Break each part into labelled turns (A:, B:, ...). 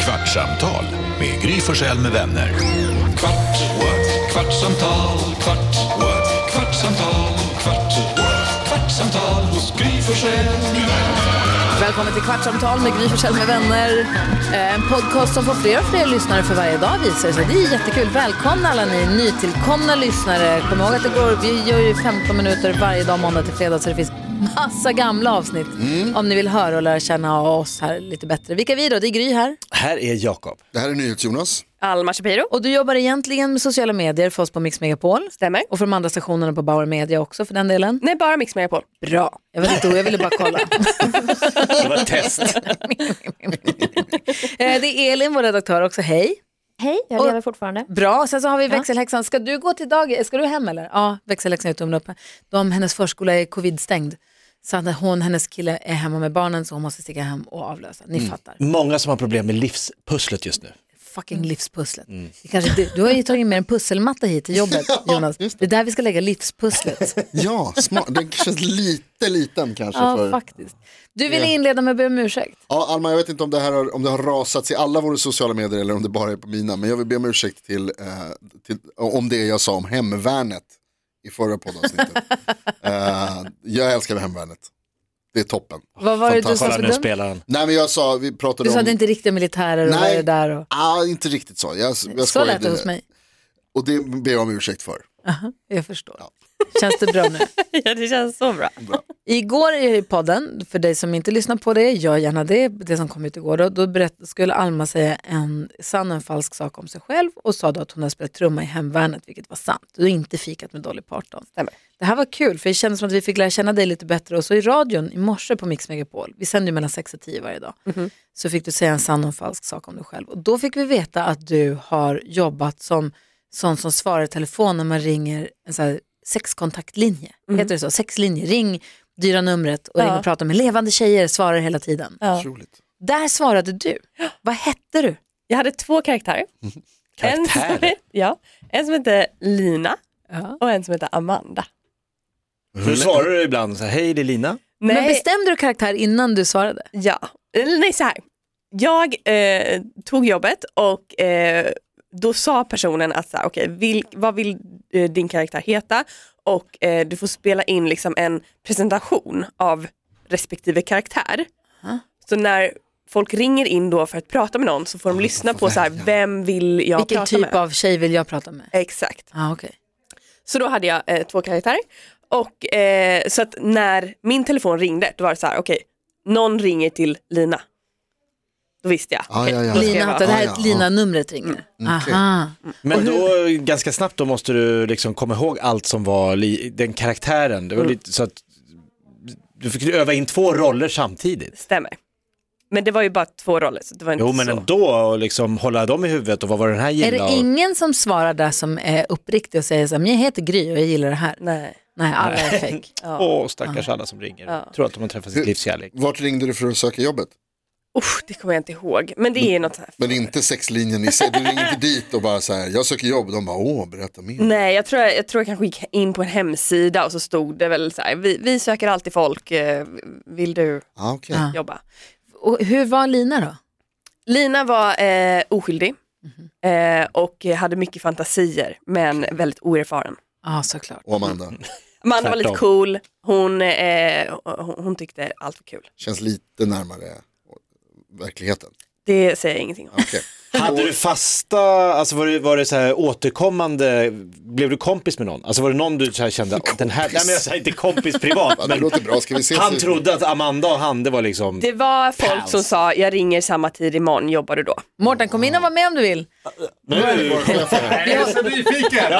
A: Kvartsamtal med Gry Forssell med vänner. Kvart, what? kvartsamtal, kvart, what? kvartsamtal, kvart, what? kvartsamtal hos Gry Forssell med vänner.
B: Välkommen till Kvartsamtal med Gry Forssell med vänner. Eh, En podcast som får fler och fler lyssnare för varje dag visar det sig. Det är jättekul. Välkomna alla ni nytillkomna lyssnare. Kom ihåg att det går, vi gör ju 15 minuter varje dag måndag till fredag så det finns massa gamla avsnitt om ni vill höra och lära känna oss här lite bättre. Vilka är vi då? Det är Gry här.
C: Här är Jakob.
D: Det här är NyhetsJonas.
E: Alma Shapiro.
B: Och du jobbar egentligen med sociala medier för oss på Mix Megapol.
E: Stämmer.
B: Och för de andra stationerna på Bauer Media också för den delen.
E: Nej, bara Mix Megapol.
B: Bra. Jag vet inte, jag ville bara kolla.
C: Det var ett test.
B: Eh, det är Elin, vår redaktör också. Hej.
F: Hej, jag
B: Och-
F: lever fortfarande.
B: Bra, sen så har vi växelhäxan. Ska du gå till dag? Ska du hem eller? Ja, växelhäxan är tummen upp. De, hennes förskola är covidstängd. Så att hon, hennes kille är hemma med barnen så hon måste sticka hem och avlösa. Ni fattar.
C: Många som har problem med livspusslet just nu.
B: Fucking livspusslet. Det kanske, du, du har ju tagit med en pusselmatta hit till jobbet Jonas. Det är där vi ska lägga livspusslet.
D: Ja, smart. den känns lite liten kanske.
B: ja,
D: för...
B: faktiskt. Du ville inleda med att be om ursäkt.
D: ja, Alma, jag vet inte om det här har, om det har rasats i alla våra sociala medier eller om det bara är på mina. Men jag vill be om ursäkt till, eh, till, om det jag sa om hemvärnet i förra poddavsnittet. eh, jag älskar hemvärnet. Det är toppen.
B: Vad var det du sa
D: Fantastiskt.
C: Kolla
B: så
C: nu
B: dumt?
C: spelar han.
D: Nej men jag sa, vi pratade
B: Du sa
D: om...
B: att det inte är riktiga militärer och vad är det där? Och...
D: Ah, inte riktigt så. Jag, jag
B: Så lät
D: skojade.
B: det hos mig.
D: Och det ber jag om ursäkt för.
B: Jag förstår. Känns det bra nu?
E: Ja, det känns så bra.
B: Igår i podden, för dig som inte lyssnar på det, gör gärna det, det som kom ut igår, då, då berätt, skulle Alma säga en sann och en falsk sak om sig själv och sa då att hon hade spelat trumma i hemvärnet, vilket var sant. Du har inte fikat med Dolly Parton.
E: Stämmer.
B: Det här var kul, för det kändes som att vi fick lära känna dig lite bättre och så i radion i morse på Mix Megapol, vi sänder ju mellan 6 och 10 varje dag,
E: Mhm.
B: så fick du säga en sann och en falsk sak om dig själv. Och då fick vi veta att du har jobbat som sån som svarar i telefon när man ringer en så här sexkontaktlinje,
E: Mhm.
B: heter det så? Sexlinje, ring dyra numret och ring och prata med levande tjejer, svarar hela tiden.
D: Otroligt.
B: Där svarade du. Vad hette du?
E: Jag hade två karaktärer. En som,
C: Karaktärer.
E: ja, en som hette Lina
B: Ja.
E: och en som hette Amanda.
C: Nu svarar du ibland så här, hej det är Lina.
E: Nej,
B: Men bestämde du karaktär innan du svarade?
E: ja. Eller Nej så här. Jag eh, tog jobbet och eh, då sa personen att så här, okej, vil, vad vill eh, din karaktär heta? Och eh, du får spela in liksom en presentation av respektive karaktär. Så när folk ringer in då för att prata med någon så får de lyssna på så här, vem vill jag
B: Vilken
E: prata
B: typ
E: med?
B: av tjej vill jag prata med?
E: Exakt.
B: Ah, okay.
E: Så då hade jag eh, två karaktärer. Och eh, så att när min telefon ringde då var det så här, okej, någon ringer till Lina. Då visste jag.
D: Ah,
E: okej,
D: ja, ja.
E: då ska
B: Lina,
E: jag
B: det
E: vara-
B: här är
D: Ah, ja.
B: Lina-numret ringer. Aha.
C: Men då ganska snabbt då måste du liksom komma ihåg allt som var li- den karaktären. Det var lite så att du fick öva in två roller samtidigt.
E: Stämmer. Men det var ju bara två roller så det var inte
C: Jo men
E: så.
C: ändå och liksom hålla dem i huvudet och vad var den här
B: Är
C: gilla?
B: det
C: och-
B: ingen som svarar där som är uppriktig och säger så här, "Men jag heter Gry och jag gillar det här?
E: Nej.
B: Nej, alla är fake.
C: Åh stackars alla som ringer. Tror att de har träffat sitt livs kärlek.
D: Vart ringde du för att söka jobbet?
E: Usch, det kommer jag inte ihåg. Men det är ju något så här.
D: Men inte sexlinjen i sig, du ringer inte dit och bara så här, jag söker jobb, de bara åh, berätta mer.
E: Nej, jag tror jag, jag tror jag kanske gick in på en hemsida och så stod det väl så här, vi, vi söker alltid folk, eh, vill du
D: Ah, okay.
B: Ja.
E: jobba?
B: Och hur var Lina då?
E: Lina var eh, oskyldig
B: Mhm.
E: eh, och hade mycket fantasier men väldigt oerfaren.
B: Ja, ah, såklart.
D: Och Amanda,
E: Amanda var lite
C: Tvärtom.
E: cool, hon, eh, hon, hon tyckte allt var kul.
D: känns lite närmare verkligheten. Ah,
E: Det säger jag ingenting om.
D: Okej.
C: Hade du fasta, alltså var det, var det så här återkommande, blev du kompis med någon? Alltså var det någon du så här kände, den här, nej men jag säger inte kompis privat,
D: Ja, det
C: men
D: låter bra, ska vi ses?
C: han trodde att Amanda och han, det var liksom,
E: Det var folk
C: Pals.
E: som sa, jag ringer samma tid imorgon, jobbar du då?
B: Mårten, kom in och var med om du vill.
C: nu!
D: Jag är så nyfiken!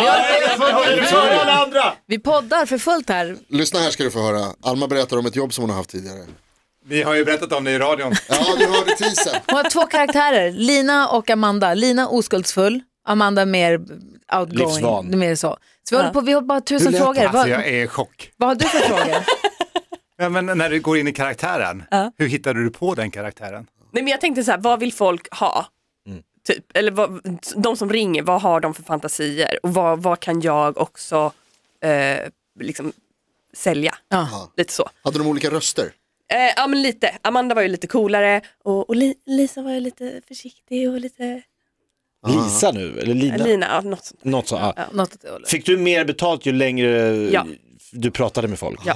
B: Vi poddar för fullt här.
D: Lyssna här ska du få höra, Alma berättar om ett jobb som hon har haft tidigare.
G: Vi har ju berättat om det i radion.
D: Ja, du hörde teasern.
B: Hon har två karaktärer, Lina och Amanda. Lina oskuldsfull, Amanda mer outgoing.
C: Livsvan.
B: Mer så. så vi, håller på, vi har bara tusen frågor.
G: Alltså
B: Vad,
G: jag är i chock.
B: vad har du för frågor?
G: Ja, men när du går in i karaktären, hur hittade du på den karaktären?
E: Nej men jag tänkte så här, vad vill folk ha? Typ, eller vad, de som ringer, vad har de för fantasier? Och vad, vad kan jag också eh, liksom sälja?
B: Ja.
E: Lite så.
D: Hade de olika röster?
E: Eh, ja men lite, Amanda var ju lite coolare och, och Li- Lisa var ju lite försiktig och lite,
C: Lisa nu, eller Lina?
E: Lina, ja, något sånt.
C: Något så, ja.
E: Ja.
B: Något åt det hållet.
C: Fick du mer betalt ju längre
E: Ja.
C: du pratade med folk?
E: Ja.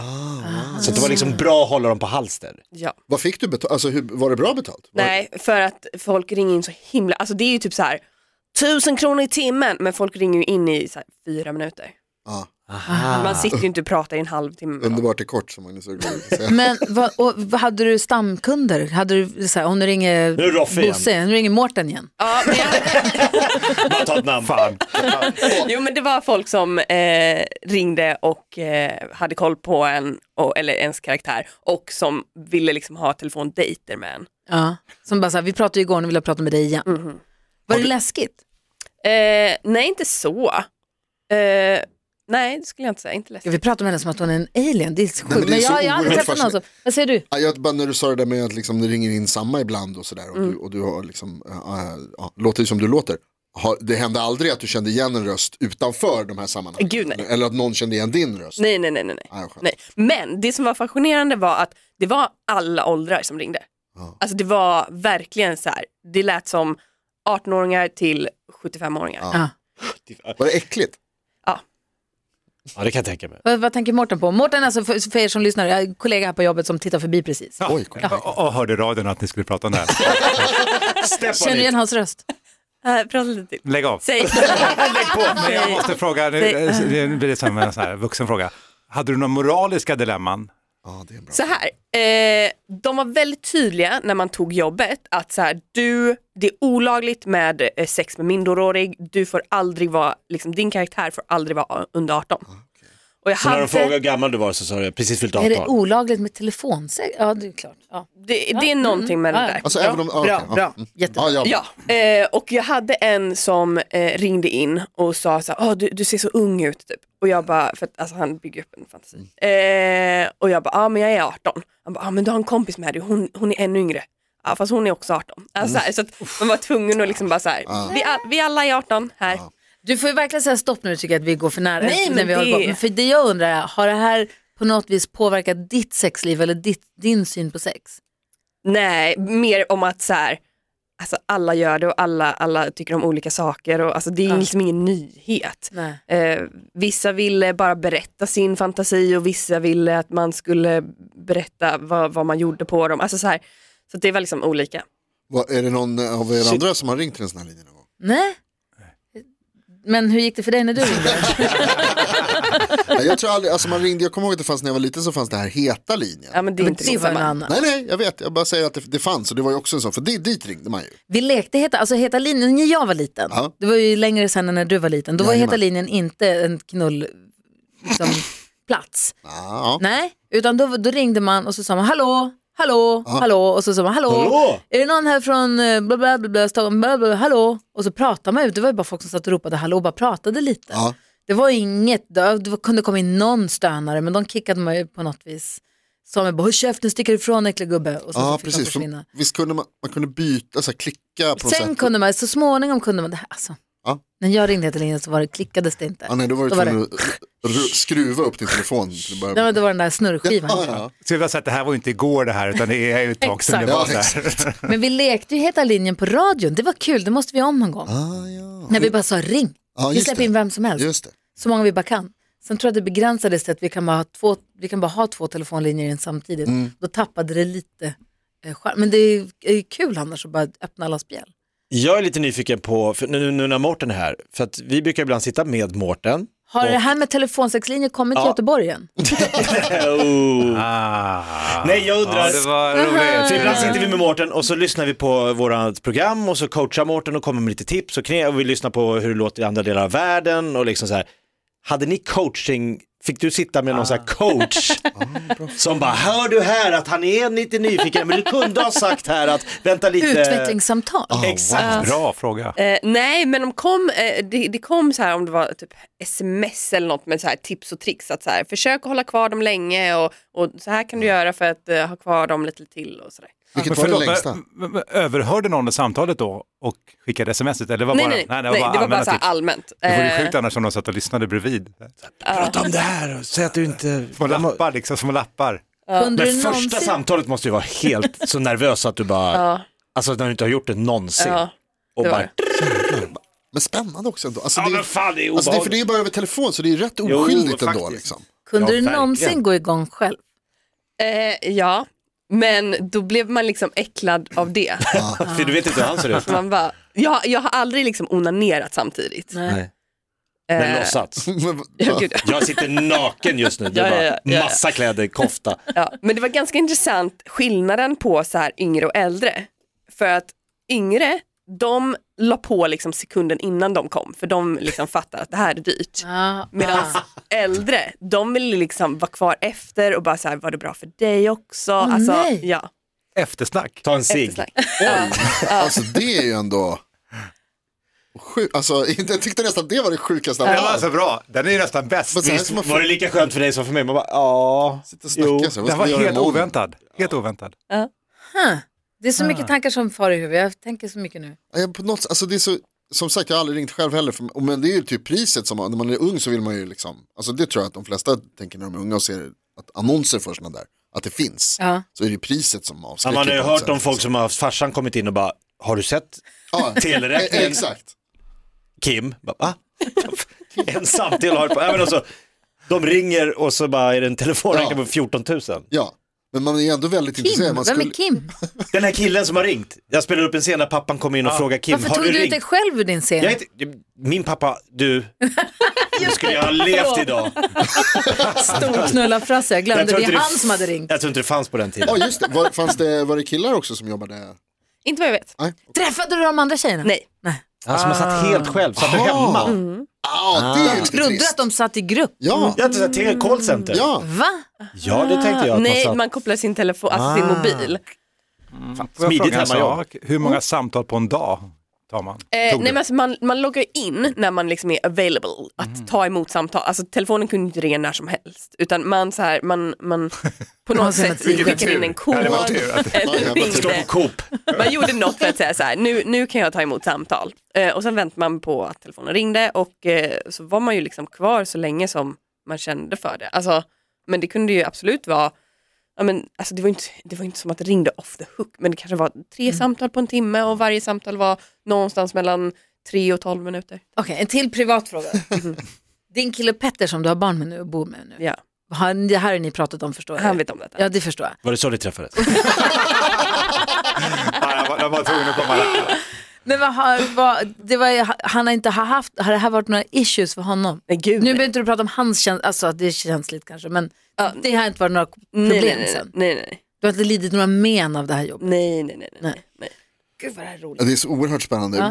C: Så att det var liksom bra att hålla dem på halster.
E: Ja.
D: Vad fick du betalt? Alltså hur, var det bra betalt? Var-
E: Nej, för att folk ringer in så himla, alltså det är ju typ så här tusen kronor i timmen men folk ringer ju in i så här, fyra minuter.
D: Ja,
E: Man sitter ju inte och pratar i en halvtimme. med dem.
D: underbart är kort som Magnus Uggla brukar säga.
B: Men vad, och, vad hade du stamkunder? Hade du, så här, om du ringer
C: Nu är det Roffe igen.
B: Bosse, nu ringer Mårten igen.
E: Ja, men jag,
C: Bara ta ett namn.
G: Fan.
E: Jo men det var folk som eh, ringde och eh, hade koll på en, och, eller ens karaktär och som ville liksom ha telefondejter med en.
B: Ja. Som bara så här, vi pratade ju igår, nu vill jag prata med dig igen. Var det läskigt?
E: Eh, nej inte så. Eh, nej det skulle jag inte säga, inte
B: Ja,
E: läskigt.
B: vi pratar om henne som att hon är en alien, det är så
D: men
B: sjukt.
D: det är
B: Men
D: så
B: jag, jag har aldrig
D: oerhört
B: träffat någon som, vad säger du?
D: Ja, jag, bara när du sa det där med att liksom, det ringer in samma ibland och sådär och, du, och du har liksom, äh, äh, ja, låter ju som du låter. Har, det hände aldrig att du kände igen en röst utanför de här sammanhangen?
E: Gud, nej.
D: Eller att någon kände igen din röst?
E: Nej nej nej nej. nej.
D: Ah, skönt.
E: nej. Men det som var fascinerande var att det var alla åldrar som ringde.
D: Ja.
E: Alltså det var verkligen så här, det lät som 18-åringar till 75-åringar.
D: Ja.
B: Ja.
D: Var det äckligt?
C: Ja, det kan jag tänka mig.
B: Vad, vad tänker Mårten på? Mårten alltså för, för er som lyssnar, jag har en kollega här på jobbet som tittar förbi precis.
D: Oj, kom
G: Ja, och, och hörde i radion att ni skulle prata om det här.
B: Känner du igen hans röst?
E: Eh, prata lite till.
G: Lägg av.
E: Säg.
G: Men jag måste fråga, nu- eh,
E: Nej.
G: det blir det som en sån här vuxen fråga. Hade du några moraliska dilemman?
D: Ja, det är bra.
E: Så här, eh, de var väldigt tydliga när man tog jobbet att så här, du, det är olagligt med eh, sex med minderårig, du får aldrig vara, liksom, din karaktär får aldrig vara under
D: Ah,
E: 18. Och jag
C: Så när
E: hade,
C: de frågade hur gammal du var så sa du precis fyllt
B: Är det
C: 18.
B: olagligt med telefonsex? Ja, det är klart. Ja.
E: det, det är någonting med det
B: Ja,
E: där.
D: Alltså,
B: bra,
D: även om, ah,
B: bra,
D: okej, ja.
B: bra.
D: Mm.
B: Jättebra.
D: Ja, ja.
E: Ja, eh, och jag hade en som eh, ringde in och sa så här, "Ah, du, du ser så ung ut typ. Och jag bara, för att alltså, han bygger upp en fantasi. Eh, och jag bara, ja ah, men jag är 18. Han bara, ah, men du har en kompis med dig, hon, hon är ännu yngre. Ja fast hon är också 18. Alltså, så, här, så att man var tvungen att liksom bara så här, vi, all, vi alla är 18 här.
B: Du får ju verkligen säga stopp nu tycker jag att vi går för nära.
E: Nej,
B: efter när
E: men
B: vi håller
E: det-
B: på. Men För det jag undrar är, har det här på något vis påverkat ditt sexliv eller ditt, din syn på sex?
E: Nej, mer om att så här, alltså, alla gör det och alla, alla tycker om olika saker. Och, alltså, det är liksom ingen nyhet.
B: Nej.
E: Eh, vissa ville bara berätta sin fantasi och vissa ville att man skulle berätta vad, vad man gjorde på dem. Alltså så här, så att det var liksom olika.
D: Vad- Är det någon av er andra som har ringt till en sån här linje någon gång?
B: Nej. Men hur gick det för dig när du ringde?
D: Nej, jag tror aldrig, alltså man ringde, jag kommer ihåg att det fanns när jag var liten så fanns det här heta linjen.
E: Ja, men det är inte
B: det var en
E: samma.
B: annan.
D: Nej, nej, jag vet, jag bara säger att det, det fanns och det var ju också en sån, för det, dit ringde man ju.
B: Vi lekte heta, alltså heta linjen när jag var liten.
D: Ja.
B: Det var ju längre sen än när du var liten. Då var
D: Jajamän.
B: heta linjen inte en knull liksom, plats.
D: Ja, ja.
B: Nej, utan då, då ringde man och så sa man hallå, hallå,
D: Ah.
B: hallå och så sa man hallå.
C: Hallå?
B: Är det någon här från eh, bla bla bla, bla, Stockholm, bla, bla, bla hallå? Och så pratade man ut, det var ju bara folk som satt och ropade hallå och bara pratade lite.
D: Ja.
B: Det var inget, det det kunde komma in någon stönare men de kickade man ju på något vis. Sa man bara håll käften, sticker ifrån äckliga gubbe och Alltså, så,
D: Ja,
B: så fick de
D: precis.
B: försvinna.
D: För, visst kunde man, man kunde byta, så här, klicka på något
B: Sen
D: sätt.
B: kunde man, så småningom kunde man, det här, alltså,
D: Ja.
B: när jag ringde till linjen så var det, klickades det inte.
D: Ja, nej, då var du
B: Då var
D: tvungen att ru- skruva upp din telefon. till att
B: Nej,
D: börja
B: men
D: med.
B: det var den där snurrskivan.
D: Ja, ja.
G: Så jag vill säga att det här var ju inte igår det här, utan det är ju ett tag sedan det
D: Exakt.
G: var
D: Ja,
G: så här.
B: Men vi lekte ju Heta linjen på radion, det var kul, det måste vi göra om någon gång.
D: Ah, ja.
B: När vi bara sa ring,
D: Ja,
B: vi
D: just
B: släpper
D: det.
B: in vem som helst,
D: Just det.
B: så många vi bara kan. Sen tror jag att det begränsades till att vi kan bara ha två, vi kan bara ha två telefonlinjer in samtidigt.
C: Mm.
B: Då tappade det lite eh, charm. Men det är är ju kul annars att bara öppna alla spjäll.
C: Jag är lite nyfiken på, för nu, nu när Mårten är här, för att vi brukar ibland sitta med Mårten.
B: Har
C: Och-
B: det här med telefonsexlinjer kommit till
C: Ja.
B: Göteborg än?
C: Oh.
G: Ah.
C: Nej, jag undrar-
G: Ja, det var roligt.
C: För ibland sitter vi med Mårten och så lyssnar vi på vårat program och så coachar Mårten och kommer med lite tips och knep och vi lyssnar på hur det låter i andra delar av världen och liksom så här. Hade ni coaching, fick du sitta med någon sån
G: Ah.
C: här coach som bara, hör du här att han är lite nyfiken, men du kunde ha sagt här att vänta lite.
B: Utvecklingssamtal.
C: Exakt.
G: Bra fråga.
E: Eh, nej men de kom, eh, det, det kom så här om det var typ sms eller något med så här tips och tricks. Att så här, försök att hålla kvar dem länge och, och så här kan du göra för att eh, ha kvar dem lite till och sådär.
D: Vilket var det
G: men-
D: längsta?
G: men- men överhörde någon samtalet då och skickade sms ut? Eller var
E: Nej
G: bara,
E: nej, nej, det var bara,
G: allmänna
E: så här
G: tips?
E: allmänt.
G: Det vore
E: Eh,
G: sjukt annars om de satt och lyssnade bredvid.
C: Prata om det här och säg att du inte...
G: Små lappar liksom, små lappar.
B: Kunde
C: Men
B: du
C: första
B: någonsin...
C: samtalet måste ju vara helt så nervös att du bara,
E: Ja,
C: alltså när du inte har gjort det någonsin.
E: ja.
C: och
E: det var
C: bara,
E: det.
D: Men spännande också ändå. Alltså,
C: ja
D: det,
C: men
D: är,
C: fan det är
D: alltså, det är
C: obehagligt.
D: för det är bara över telefon så det är rätt oskyldigt ändå.
G: faktiskt.
D: Liksom.
B: Kunde
C: Ja,
B: du någonsin
C: verkligen.
B: gå igång själv?
E: Eh, ja, men då blev man liksom äcklad av det.
C: För du vet inte hur han ser ut.
E: Man bara, jag, jag har aldrig liksom onanerat samtidigt.
C: Nej. Men
E: Eh,
C: låtsats.
D: Men,
E: ja, gud,
C: Jag sitter naken just nu, det
E: Ja,
C: är
E: ja,
C: bara
E: ja, ja, ja.
C: massa kläder, kofta.
E: ja. Men det var ganska intressant skillnaden på så här yngre och äldre. För att yngre, de la på liksom sekunden innan de kom för de liksom fattar att det här är dyrt.
B: Ja.
E: Medan
B: Ah.
E: äldre, de vill liksom vara kvar efter och bara så här, var det bra för dig också?
B: Åh,
E: alltså,
B: nej.
E: ja,
G: Eftersnack.
C: Ta en cigg.
E: eftersnack.
D: alltså det är ju ändå... Sjuk, alltså, jag tyckte nästan det var det sjukaste av
G: Den var
D: allt.
G: så bra, den är ju nästan bäst.
D: Men så här
G: Visst,
D: ska man få
C: Var det lika skönt för dig som för mig? Man bara, ja.
D: sitta och snacka så här, vad
G: Den
D: ska
G: var
D: vi göra
G: helt
D: imorgon?
G: oväntad. Helt oväntad.
B: Huh. Det är så
C: Ah.
B: mycket tankar som far i huvudet. Jag tänker så mycket nu.
D: Ja, på något, sätt- alltså det är så, som sagt, jag har aldrig ringt själv heller. För, men det är ju typ priset som, man- när man är ung så vill man ju liksom, alltså det tror jag att de flesta tänker när de är unga och ser att annonser för sådana där, att det finns.
B: Ja.
D: Så är det priset som
C: Ja,
D: avskräcker.
C: man har ju
D: på något
C: hört
D: sätt,
C: om folk
D: liksom.
C: som har haft farsan kommit in och bara, har du sett
D: Ja, e-
C: teleräkningen?
D: Exakt.
C: Kim, bara, va? En samtidigt har på, ja, men alltså, de ringer och så bara är det en telefonräkning
D: Ja.
C: på 14 000.
D: Ja, men man är ändå väldigt intresserad.
B: Kim,
D: Man
B: vem är Kim?
C: Den här killen som har ringt, jag spelade upp en scen när pappan kom in och frågade Kim,
B: Varför
C: har
B: tog
C: du
B: du ut
C: ringt?
B: dig själv ur din scen?
C: Jag är inte, min pappa, du, nu skulle jag ha levt idag.
B: Stor knullarfrasse, jag glömde.
C: Jag tror
B: det
C: inte
B: är
C: det-
B: han som hade ringt.
C: Jag tror inte det fanns på den tiden.
D: Ja, just det. Var, fanns det, var det killar också som jobbade?
E: Inte vad jag vet.
D: Nej.
B: Träffade du de andra tjejerna?
E: Nej.
C: Han som har satt helt själv, satt hemma.
D: Ja, det är ju lite
B: Trodde du
D: trist.
B: att de satt i grupp?
D: Ja,
C: Jag hade till callcenter.
D: ja.
B: Va?
C: ja, det tänkte jag att man
E: Nej,
C: satt.
E: man kopplar sin telefon, alltså sin mobil.
G: Får jag
C: Smidigt
G: fråga en
C: hemmajobb.
G: sak? Hur många samtal på en dag tar man?
E: Mm. Eh,
G: Tog
E: nej,
G: du?
E: men alltså man, man loggar ju in när man liksom är available att ta emot samtal. Alltså telefonen kunde inte ringa när som helst utan man så här, man, man på något
B: sina
E: sätt
B: tider.
E: skickade in en kod.
G: Ja, det var Alltså, tur att-
E: eller
C: Står på
E: ringde.
C: Coop.
E: Man gjorde något för att säga så här, nu, nu kan jag ta emot samtal. Eh, och sen väntade man på att telefonen ringde och eh, så var man ju liksom kvar så länge som man kände för det. Alltså, men det kunde ju absolut vara Ja, men, alltså det, var ju inte, det var ju inte som att det ringde off the hook, men det kanske var tre
B: Mm.
E: samtal på en timme och varje samtal var någonstans mellan tre och tolv minuter.
B: Okej, en till privat fråga. Din kille Petter som du har barn med nu och bor med nu.
E: Ja,
B: Han, det här har ni pratat om förstår jag.
E: han vet om detta.
B: Ja, det förstår jag.
C: Var det så ni träffades?
G: Ja, jag var- jag var tvungen att komma där.
B: Men vad har, vad, det var, han har inte haft, har det här varit några issues för honom?
E: Nej gud.
B: Nu
E: nej.
B: behöver inte du prata om hans känsla, alltså att det är känsligt kanske, men det har inte varit några problem
E: nej, nej, nej,
B: sen.
E: nej, nej,
B: Du har inte lidit några men av det här jobbet.
E: nej, nej, nej, nej, nej.
B: Gud vad det här är roligt.
D: Ja, Det är så oerhört spännande. äh,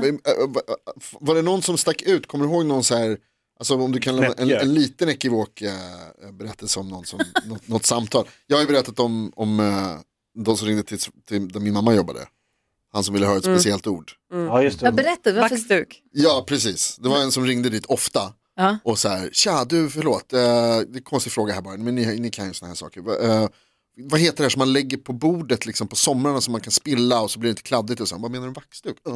D: Var det någon som stack ut? Kommer du ihåg någon så här, alltså om du kan lämna en,
C: Näckjö.
D: en liten ekivok eh, berättelse om någon som, något, något samtal. Jag har ju berättat om, om eh, de som ringde till, till där min mamma jobbade. Han som ville höra ett speciellt ord.
C: Ja, just
B: Jag berättade, varför...
E: Backstuk.
D: Ja, precis. Det var en som ringde dit ofta.
B: Ja.
D: Och så här, tja du förlåt, eh, det är en konstig fråga här bara, men ni, ni kan ju såna här saker. Va- Eh, vad heter det här som man lägger på bordet liksom på somrarna som man kan spilla och så blir det inte kladdigt och så. Vad menar du vaxduk? Uh.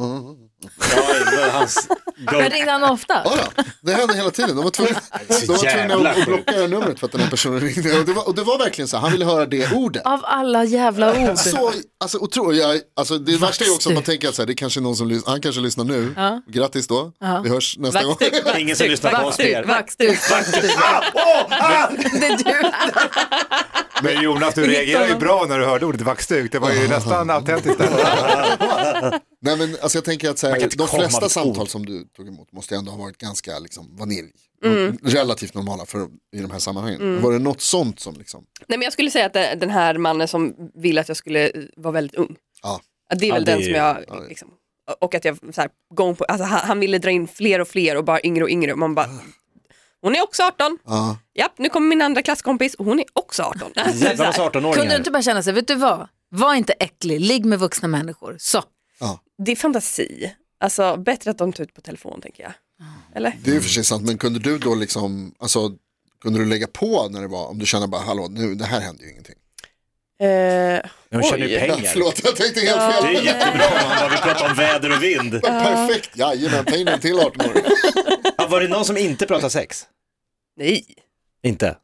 C: Ja, det var hans go.
B: Men ringde han ofta?
D: Ja, ja. det hände hela tiden. De var tvungna, de var tvungna
C: jävla
D: att
C: sjukt.
D: blocka det här numret för att den här personen ringde. Och det var, och det var verkligen så här, han ville höra det ordet.
B: Av alla jävla ord.
D: Så, alltså, otroligt, jag, alltså, det värsta är också att man tänker att så här, det är kanske är någon som lys- han kanske lyssnar nu.
B: Ja.
D: Grattis då, vi hörs nästa gång.
E: Backstuk, backstuk,
C: Ingen som lyssnar på oss
E: backstuk,
C: mer.
E: Backstuk.
B: Backstuk. Det är du.
G: Men Jonas, du reagerar ju bra när du hörde ordet vaxduk. Det var ju nästan autentiskt där.
D: Nej, men, alltså, jag tänker att så
C: Man
D: här,
C: kan inte
D: de
C: komma
D: flesta
C: med
D: samtal
C: ord.
D: som du tog emot måste ändå ha varit ganska liksom, vanilj.
B: Mm.
D: Relativt normala för, i de här sammanhangen. Var det något sånt som liksom,
E: Nej men jag skulle säga att det- den här mannen som ville att jag skulle eh, vara väldigt ung.
D: Ja.
E: Att Det är
C: Ja,
E: väl
C: det
E: den
C: är-
E: som jag,
D: ja, det-
E: liksom, och att jag så här, gång på, alltså, han, han ville dra in fler och fler och bara yngre och yngre. Man bara, hon är också 18.
D: ja.
E: Japp, nu kommer min andra klasskompis och hon är också 18. Alltså,
C: Jävlar massa
E: så här,
C: 18-åringar.
B: Kunde du inte bara känna sig, vet du vad? Var inte äcklig, ligg med vuxna människor. Så.
E: det är fantasi. Alltså bättre att de tar ut på telefon tänker jag.
C: Ah.
E: Eller?
D: Det är ju för sig sant, men kunde du då liksom, alltså, kunde du lägga på när det var, om du kände bara hallå, nu, det här händer ju ingenting.
E: Eh,
C: De tjänar ju
E: Oj.
D: Ja,
C: pengar.
D: förlåt, jag tänkte helt
E: Ja.
D: fel.
C: Det är jättebra man bara vill prata om väder och vind.
D: Perfekt, jajamän, ta in en till 18 år.
C: Ja, var det någon som inte pratade sex?
E: nej.
C: Inte?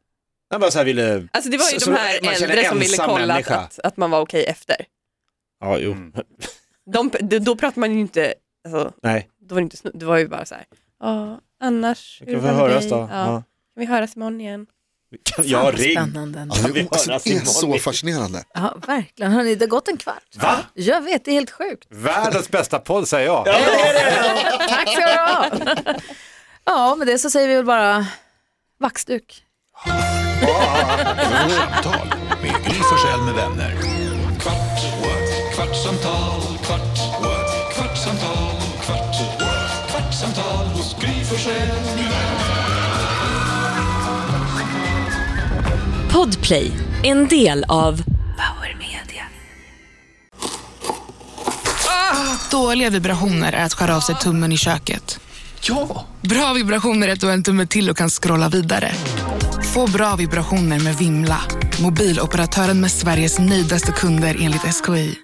C: Han bara så här ville...
E: Alltså det var ju
C: Så-
E: de
C: så
E: här
C: man känner
E: äldre som ville
C: ensam
E: kolla
C: människa. Mm.
E: att, att man var okej efter.
C: Ja, jo.
E: De, då- då pratar man ju inte, alltså,
C: Nej,
E: då var det inte snu, det var ju bara så här, ja annars,
C: vi
E: hur
C: kan vi
E: var det med
C: höras
E: dig?
C: då.
E: Ja.
C: Ja.
E: Kan vi höras imorgon igen?
C: Kan jag ring?
B: Spännande. ändå.
D: Det
C: vi
D: är, alltså,
C: höras
D: det är
C: imorgon.
D: så fascinerande.
B: Ja, verkligen. Hörrni, det har gått en kvart.
C: Va?
B: Jag vet, det är helt sjukt.
G: Världens bästa podd säger jag.
B: Tack ska du ha. Ja, med det så säger vi väl bara vaxduk.
A: Kvartsamtal med Gry Forssell med vänner. Kvart, what? kvartsamtal, kvart, what? kvartsamtal, kvart, what? kvartsamtal hos Gry Forssell med vänner.
F: Podplay, en del av Power Media.
H: Dåliga vibrationer är att skära av sig tummen i köket.
A: Ja!
H: Bra vibrationer är att du har en tumme till och kan scrolla vidare. Få bra vibrationer med Vimla. Mobiloperatören med Sveriges nöjdaste kunder enligt SKI.